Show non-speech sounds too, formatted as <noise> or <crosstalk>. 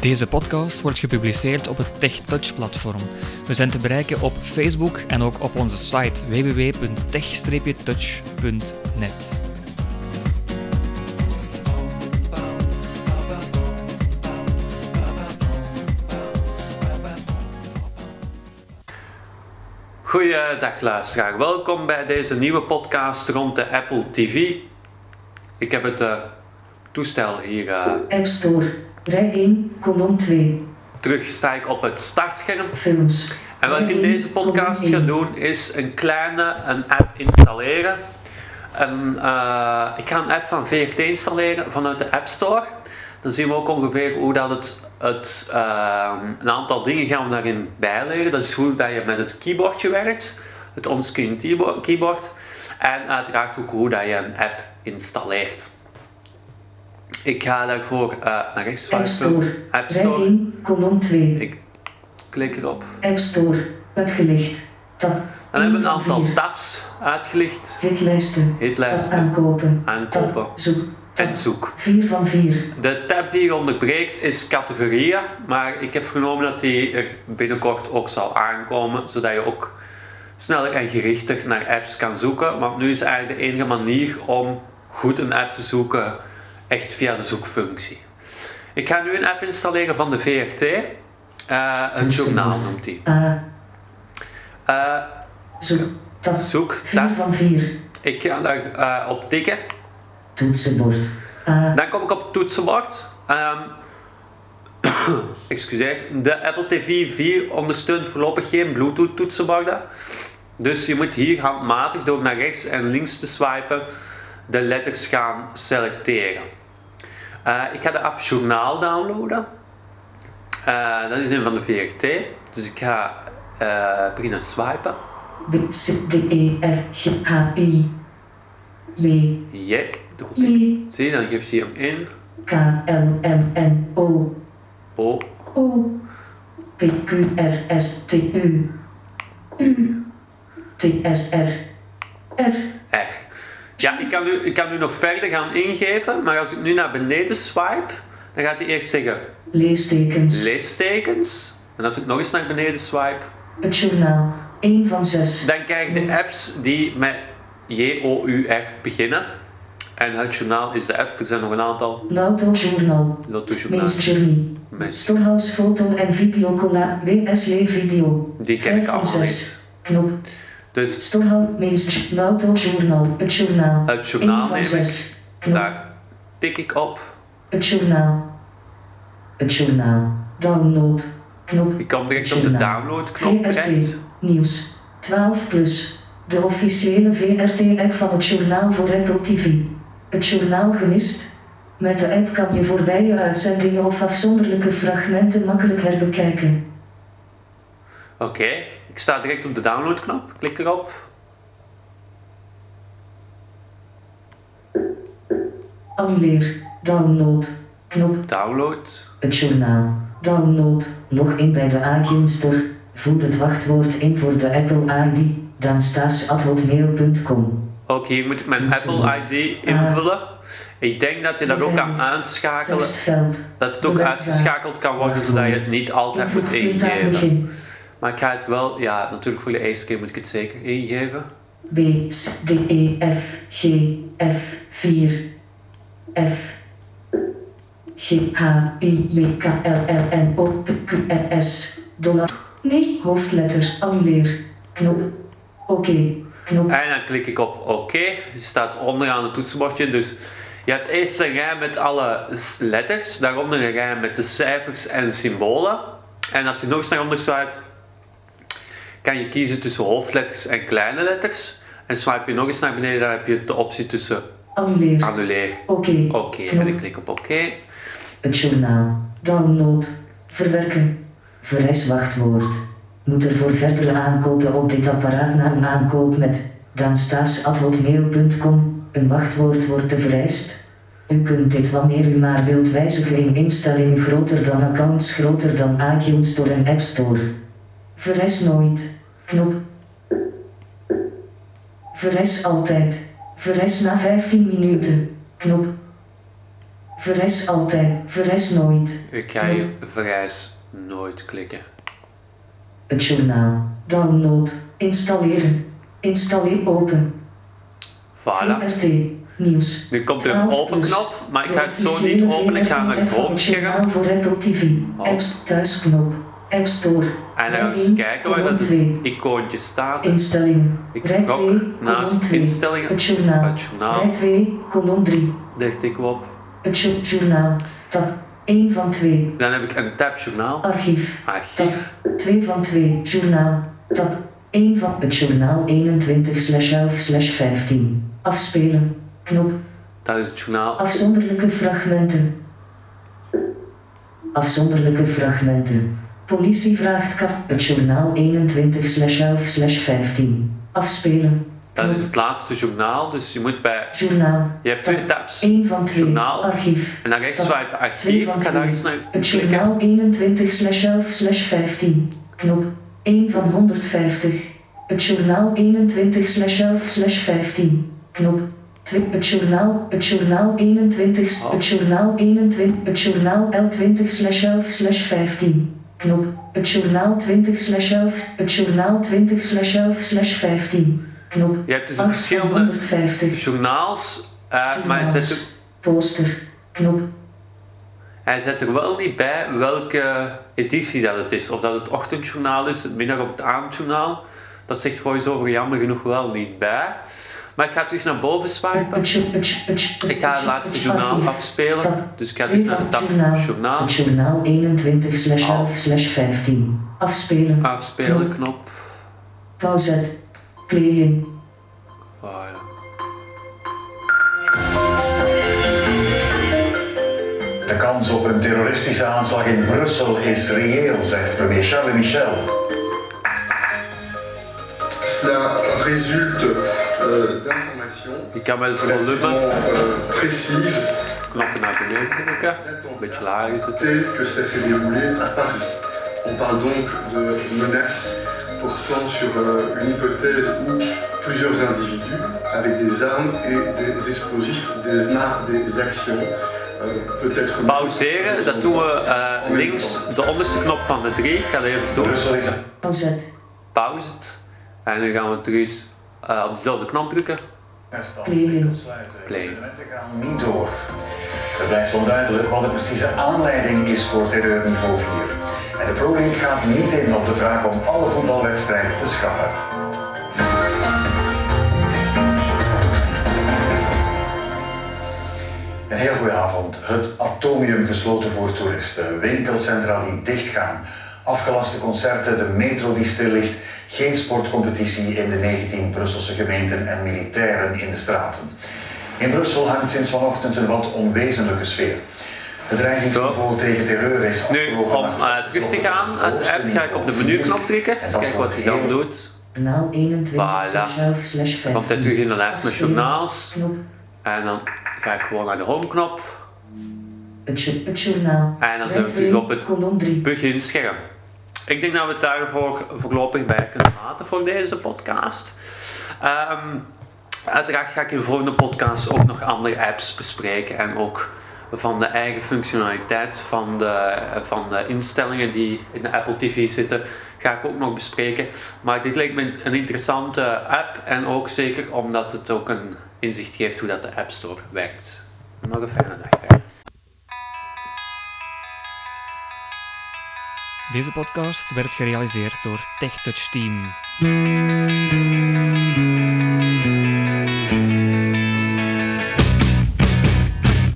Deze podcast wordt gepubliceerd op het TechTouch-platform. We zijn te bereiken op Facebook en ook op onze site www.tech-touch.net. Goeiedag luisteraar, welkom bij deze nieuwe podcast rond de Apple TV. Ik heb het eh, toestel hier eh, App Store. Rij 1, kolom 2. terug, sta ik op het startscherm. Films. En wat ik Rij in 1, deze podcast kolom ga 1. doen is een kleine een app installeren. En, eh, ik ga een app van VRT installeren vanuit de App Store. Dan zien we ook ongeveer hoe dat het, het eh, een aantal dingen gaan we daarin bijleren. Dat is hoe dat je met het keyboardje werkt, het onscreen keybo- keyboard. En uiteraard ook hoe dat je een app installeert. Ik ga daarvoor eh, naar rechts App Store. swipen. App Rij Store. 1, kolom 2. Ik klik erop. App Store. Uitgelicht. Tab. Dan hebben we een Eén van aantal vier. tabs uitgelicht. Hitlijsten. Tab Hitlijsten, aankopen. aankopen Tab zoek. Tab en zoek. 4 van 4. De tab die hier onderbreekt is categorieën, maar ik heb vernomen dat die er binnenkort ook zal aankomen, zodat je ook sneller en gerichter naar apps kan zoeken. Want nu is eigenlijk de enige manier om goed een app te zoeken echt via de zoekfunctie. Ik ga nu een app installeren van de VRT. Eh, het journaal noemt die. A. Eh, Zoek. Tab. zoek, 4 tab. van 4. Ik ga daar eh, op tikken. Toetsenbord. A. Dan kom ik op het toetsenbord. Ehm, <coughs> excuseer. De Apple TV 4 ondersteunt voorlopig geen Bluetooth toetsenborden. Dus je moet hier handmatig door naar rechts en links te swipen de letters gaan selecteren. Eh, ik ga de app Journaal downloaden. Eh, dat is een van de VRT. Dus ik ga eh, beginnen swipen. B. C. D. E. F. G. H. I. J. Yeah, daar komt ie. I. Zie, dan geeft hij hem in. K. L. M. N. O. Oh, O P Q R S T U U T S R R R. Ja, ik kan, nu, ik kan nu nog verder gaan ingeven, maar als ik nu naar beneden swipe, dan gaat hij eerst zeggen leestekens. leestekens. En als ik nog eens naar beneden swipe, Het journaal 1 van 6. dan krijg ik de apps die met J-O-U-R beginnen. En het journaal is de app, er zijn nog een aantal. Lauto Journal. Lotto Journaal. Meest Journey. Meest. Storehouse Foto en Video Cola WSJ Video. Die ken Vijf ik van allemaal zes. niet. Knop. Dus Storehouse Meest Lauto Journal. Het journaal. Het journaal 1 van neem ik. 6. Knop. daar tik ik op. Het journaal. Het journaal. Download. Knop. Ik kom direct op de downloadknop terecht. VRT Nieuws 12 plus. De officiële VRT-app van het journaal voor Apple TV. Het journaal gemist? Met de app kan je voorbije uitzendingen of afzonderlijke fragmenten makkelijk herbekijken. Oké, ik sta direct op de downloadknop. Klik erop. Annuleer. Download. Knop. Download. Het journaal. Download. Nog in bij de iTunes Store. Voer het wachtwoord in voor de Apple ID. Dan staas.hotmail.com. Ook hier moet ik mijn Apple ID invullen. Ik denk dat je dat ook kan aanschakelen. Testveld. Dat het ook uitgeschakeld kan worden zodat je het niet altijd moet Invoegpunt aan ingeven. begin. Maar ik ga het wel, ja, natuurlijk voor de eerste keer moet ik het zeker ingeven. B, S, D, E, F, G, F, 4, F, G, H, I, J, K, L, L, N, O, P, Q, R, S, dollar. Nee, hoofdletters, annuleer. Knop. Oké, knop. En dan klik ik op OK. Die staat onderaan het toetsenbordje. Dus je hebt eerst een rij met alle s- letters, daaronder een rij met de cijfers en symbolen. En als je nog eens naar onder swipt, kan je kiezen tussen hoofdletters en kleine letters. En swipe je nog eens naar beneden, dan heb je de optie tussen Annuleer. annuleer. Oké. Oké, en ik knop. klik op oké. Het journaal. Download. Verwerken. Vereis wachtwoord. Moet er voor verdere aankopen op dit apparaat na een aankoop met danstaas.hotmail.com. Een wachtwoord wordt te vereist. U kunt dit wanneer u maar wilt wijzigen in instellingen groter dan accounts groter dan iTunes Store en App Store. Vereis nooit. Knop. Vereis altijd. Vereis na 15 minuten. Knop. Verrijs altijd, verrijs nooit. Ik ga hier verrijs nooit klikken. Het journaal. Download. Installeren. Installeer open. Voilà. VRT. Nieuws. Nu komt er een open knop, maar ik ga het zo niet openen. Ik ga naar het Journaal home-scherm voor Apple TV. Oh. Apps thuisknop. App Store. en dan Rij eens één, kijken waar kolom dat twee. icoontje staat. Instelling. Ik Rij gok 2, kolom naast 2. instellingen. Het journaal. Het journaal. Rij 2, kolom 3. Daar tik ik op. Het jo- journaal. Tab 1 van 2. Dan heb ik een tab journaal. Archief. Tab Archief. 2 van 2. Journaal. Tab 1 van het journaal 21 11 15. Afspelen. Knop. Dat is het journaal. Afzonderlijke fragmenten. Afzonderlijke fragmenten. Politie vraagt kaf. Het journaal 21 11 15. Afspelen. Dat Knop. is het laatste journaal. Dus je moet bij... Journaal. Je hebt twee tabs. 1 van 2. Journaal. Archief. En dan rechts Tab swipe archief. Ik ga daar eens naar Het klikken. journaal 21 11 15. Knop 1 van 150. Het journaal 21 11 15. Knop 2. Het journaal, het journaal 21, Oh. het journaal 21, het journaal L20 11 15. Knop het journaal 20 11, het journaal 20 11 15. Knop Je hebt dus 8 van verschillende 150. journaals. eh, maar hij Journaals. zet, er, Poster. Knop hij zet er wel niet bij welke editie dat het is. Of dat het ochtendjournaal is, het middag- of het avondjournaal. Dat zegt VoiceOver jammer genoeg wel niet bij. Maar ik ga terug naar boven swipen. Ik ga het laatste journaal afspelen. Dus ik ga terug naar de tab journaal. Oh. Het journaal 21 11 15. Afspelen. Ah. Afspelen knop. Pauzet. Playen. Voilà. De kans op een terroristische aanslag in Brussel is reëel, zegt premier Charles Michel. Cela résulte euh, d'informations Je kan wel het relativement volume euh, précises knoppen naar beneden drukken. Een beetje lager zetten. telles que cela s'est déroulé à Paris. On parle donc de menaces portant sur euh, une hypothèse où plusieurs individus, avec des armes et des explosifs, démarrent des actions, euh, peut-être... Bah, Pauzeren, dat doen we eh, links de onderste knop van de drie. Ik ga dat even doen. Brussel is Pauzet. Pauzed. En dan gaan we terug eens, eh, op dezelfde knop drukken. een stand. Play. Sluiten. Play. Evenementen gaan niet door. Het blijft onduidelijk wat de precieze aanleiding is voor terreurniveau 4. En de Pro League gaat niet in op de vraag om alle voetbalwedstrijden te schrappen. Een heel goede avond. Het atomium gesloten voor toeristen, winkelcentra die dichtgaan, afgelaste concerten, de metro die stil ligt, geen sportcompetitie in de 19 Brusselse gemeenten en militairen in de straten. In Brussel hangt sinds vanochtend een wat onwezenlijke sfeer. Het dreigingsniveau tegen terreur is Nu, om afgelopen eh, nacht terug te gaan aan de hoogste app, ga ik op de niveau menuknop drukken. En Eens dat kijken wat hij voor dan heel- doet. Journaal 21 11 15. Dan komt hij terug in de lijst met journaals. Knop. En dan ga ik gewoon naar de homeknop. Het, jo- het journaal. En dan zijn we Rij terug op twee, het- Kolom 3. beginscherm. Ik denk dat we het daarvoor voorlopig bij kunnen laten voor deze podcast. Ehm, uiteraard ga ik in de volgende podcast ook nog andere apps bespreken en ook van de eigen functionaliteit van de, van de instellingen die in de Apple TV zitten, ga ik ook nog bespreken. Maar dit lijkt me een interessante app en ook zeker omdat het ook een inzicht geeft hoe dat de App Store werkt. Nog een fijne dag. verder. Deze podcast werd gerealiseerd door TechTouch Team.